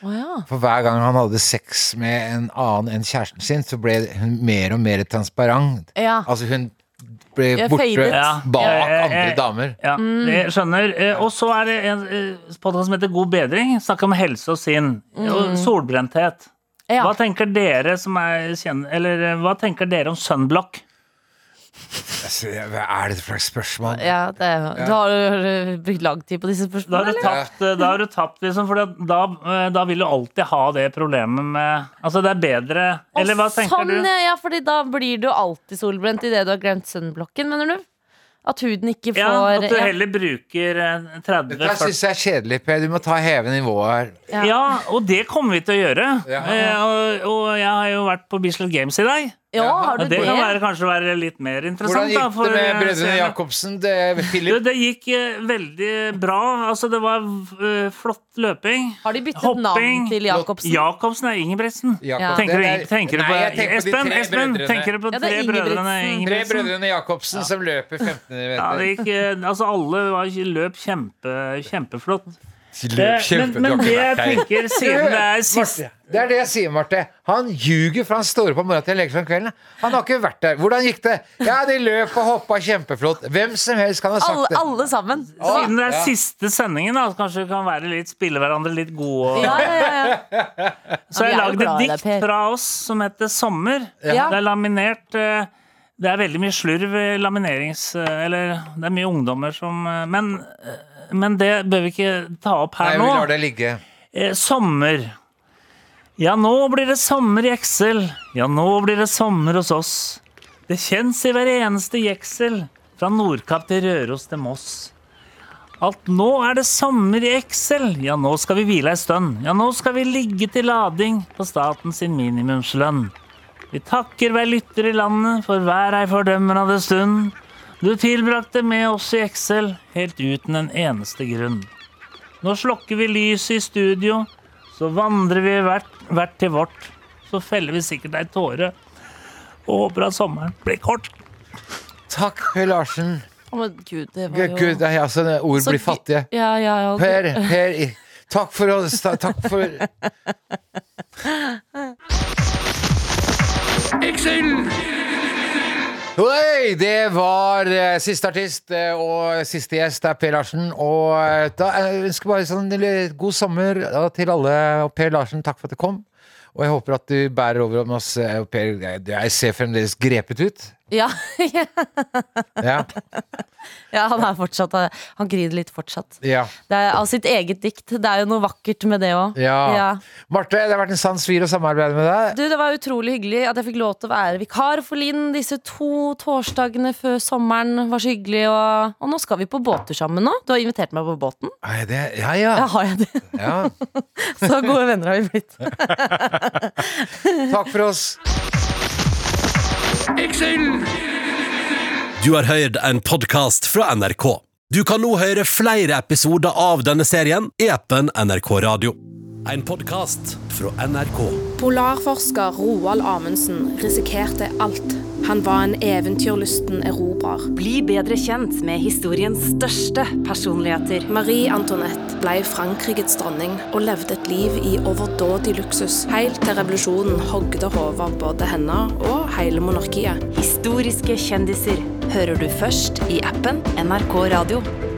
C: Å ja.
B: For hver gang han hadde sex med en annen enn kjæresten sin, så ble hun mer og mer transparent.
C: Ja.
B: Altså, hun ble
C: Jeg
B: borte
C: fadet.
G: Ja.
B: bak
G: Jeg- jeg-
B: andre
G: jeg-
B: damer.
G: Ja,
C: Mm.
G: jeg skjønner. Eh, Og så er det en eh, podkast som heter God bedring. Snakker om helse og sinn. Og solbrenthet.
C: Mm. ja.
G: Hva tenker dere som er kjenn... Eller eh, hva tenker dere om sunblock?
B: Altså, hva er det for slags spørsmål?
C: ja det er, Du har jo brukt lang tid på disse
G: Da har
C: spørsmålene,
G: du
C: eller?
G: tapt, da har du tapt liksom, for da, da vil du alltid ha det problemet med Altså, det er bedre Eller hva
C: Å,
G: tenker
C: sånn,
G: du?
C: Ja, ja, fordi da blir du alltid solbrent idet du har glemt sunblocken, mener du? At huden ikke får
G: Ja, at du
C: ja.
G: heller bruker eh, 30
B: Dette
G: 40
B: syns jeg er kjedelig, Per. Du må ta heve nivået her.
C: Ja.
G: Ja, og det kommer vi til å gjøre.
B: Ja.
G: Eh, og, og jeg har jo vært på Bislett Games i dag.
C: ja, har
G: Og
C: du
G: det
C: det?
G: kan være, kanskje være litt mer
C: sånn
B: Hvordan
G: interessant.
B: gikk
G: da, for,
B: det med
G: eh,
B: brødrene
G: seerne.
B: Jacobsen? Det,
G: Du,
B: Philip,
G: det gikk eh, veldig bra. Altså, det var eh, flott løping.
C: Har de byttet
G: Hopping.
C: navn til Jacobsen?
G: Jacobsen er Ingebrigtsen.
B: Jakob,
G: Tenker
B: det
G: du,
B: er-
G: tenker du
B: Nei,
G: på
B: jeg tenker på de
G: Espen,
B: tre
G: Espen
B: brødrene.
G: tenker du på
C: Ja, det
G: tre
C: er
G: brødrene
C: Ingebrigtsen.
B: Tre
G: Ingebrigtsen?
B: brødrene Jacobsen som løper 1500
G: Ja, det
B: meter.
G: gikk, eh, altså alle var, løp kjempe, kjempeflott. Eh,
B: Løp
G: Men, men det jeg
B: kjempe-
G: tenker, siden det er siste
B: Marte, det er det jeg sier, Marte. Han ljuger, for han står opp om morgenen til han legger seg om kvelden. Han har ikke vært der. Hvordan gikk det? Ja, de løp og hoppa kjempeflott. Hvem som helst kan ha
C: Alle,
B: sagt det.
C: alle sammen.
G: siden det er
B: Ja.
G: siste sendingen, da, så kanskje vi kan være litt, spille hverandre litt gode. Og,
C: Ja, ja, ja, ja.
G: Så
C: Ja, vi er
G: har jeg
C: jo
G: lagd et
C: glad i deg,
G: dikt
C: Per.
G: fra oss som heter 'Sommer'.
C: Ja.
G: Det er laminert. eh, Det er veldig mye slurv i laminerings... eh, Eller det er mye ungdommer som eh, Men, eh, men det bør vi ikke ta opp
B: Nei,
G: her
B: vi
G: nå.
B: lar det ligge.
G: Eh, sommer. Ja, nå blir det sommer i Excel. Ja, nå blir det sommer hos oss. Det kjennes i hver eneste jeksel, fra Nordkapp til Røros til Moss. Alt nå er det sommer i Excel. Ja, nå skal vi hvile ei stund. Ja, nå skal vi ligge til lading på staten sin minimumslønn. Vi takker hver lytter i landet for hver ei fordømmende stund. Du tilbrakte med oss i Excel helt uten en eneste grunn. Nå slokker vi lyset i studio, så vandrer vi hvert, hvert til vårt. Så feller vi sikkert ei tåre og håper at sommeren blir kort.
B: Takk, Per Larsen.
C: Å, men gud, det var jo
B: Gud, nei, altså, ord
C: Så
B: blir
C: gøy.
B: fattige.
C: Ja, ja, ja.
B: Per, Per, i- takk for oss. ta- Takk for Hei, det var eh, siste artist eh, og siste gjest. Det er Per Larsen. Og eh, da jeg ønsker bare sånn lille god sommer ja, til alle. Og Per Larsen, takk for at du kom. Og jeg håper at du bærer over med oss. eh, og Per, jeg- jeg ser fremdeles grepet ut.
C: Ja, ja,
B: Ja.
C: ja, han er fortsatt eh, Han griner litt fortsatt.
B: ja.
C: Det er av sitt eget dikt. Det er jo noe vakkert med det òg.
B: Ja. Marte, det har vært en sann svir å samarbeide med deg.
C: Du, Det var utrolig hyggelig at jeg fikk lov til å være vikar for Linn disse to torsdagene før sommeren. Det var så hyggelig og, og nå skal vi på båttur sammen nå. Du har invitert meg på båten.
B: Nei, det, ja, ja.
C: Ja, har jeg det?
B: ja.
C: Så gode venner har vi blitt.
B: Takk for oss.
H: Du har hørt en podcast fra NRK. Du kan nå høre flere episoder av denne serien i appen NRK Radio. En podcast fra NRK.
I: Polarforsker Roald Amundsen risikerte alt. Han var en eventyrlysten erobrer.
J: Bli bedre kjent med historiens største personligheter.
I: Marie Antoinette ble Frankrikes dronning og levde et liv i overdådig luksus, helt til revolusjonen hogde hodet av både henne og hele monarkiet.
J: Historiske kjendiser hører du først i appen NRK Radio.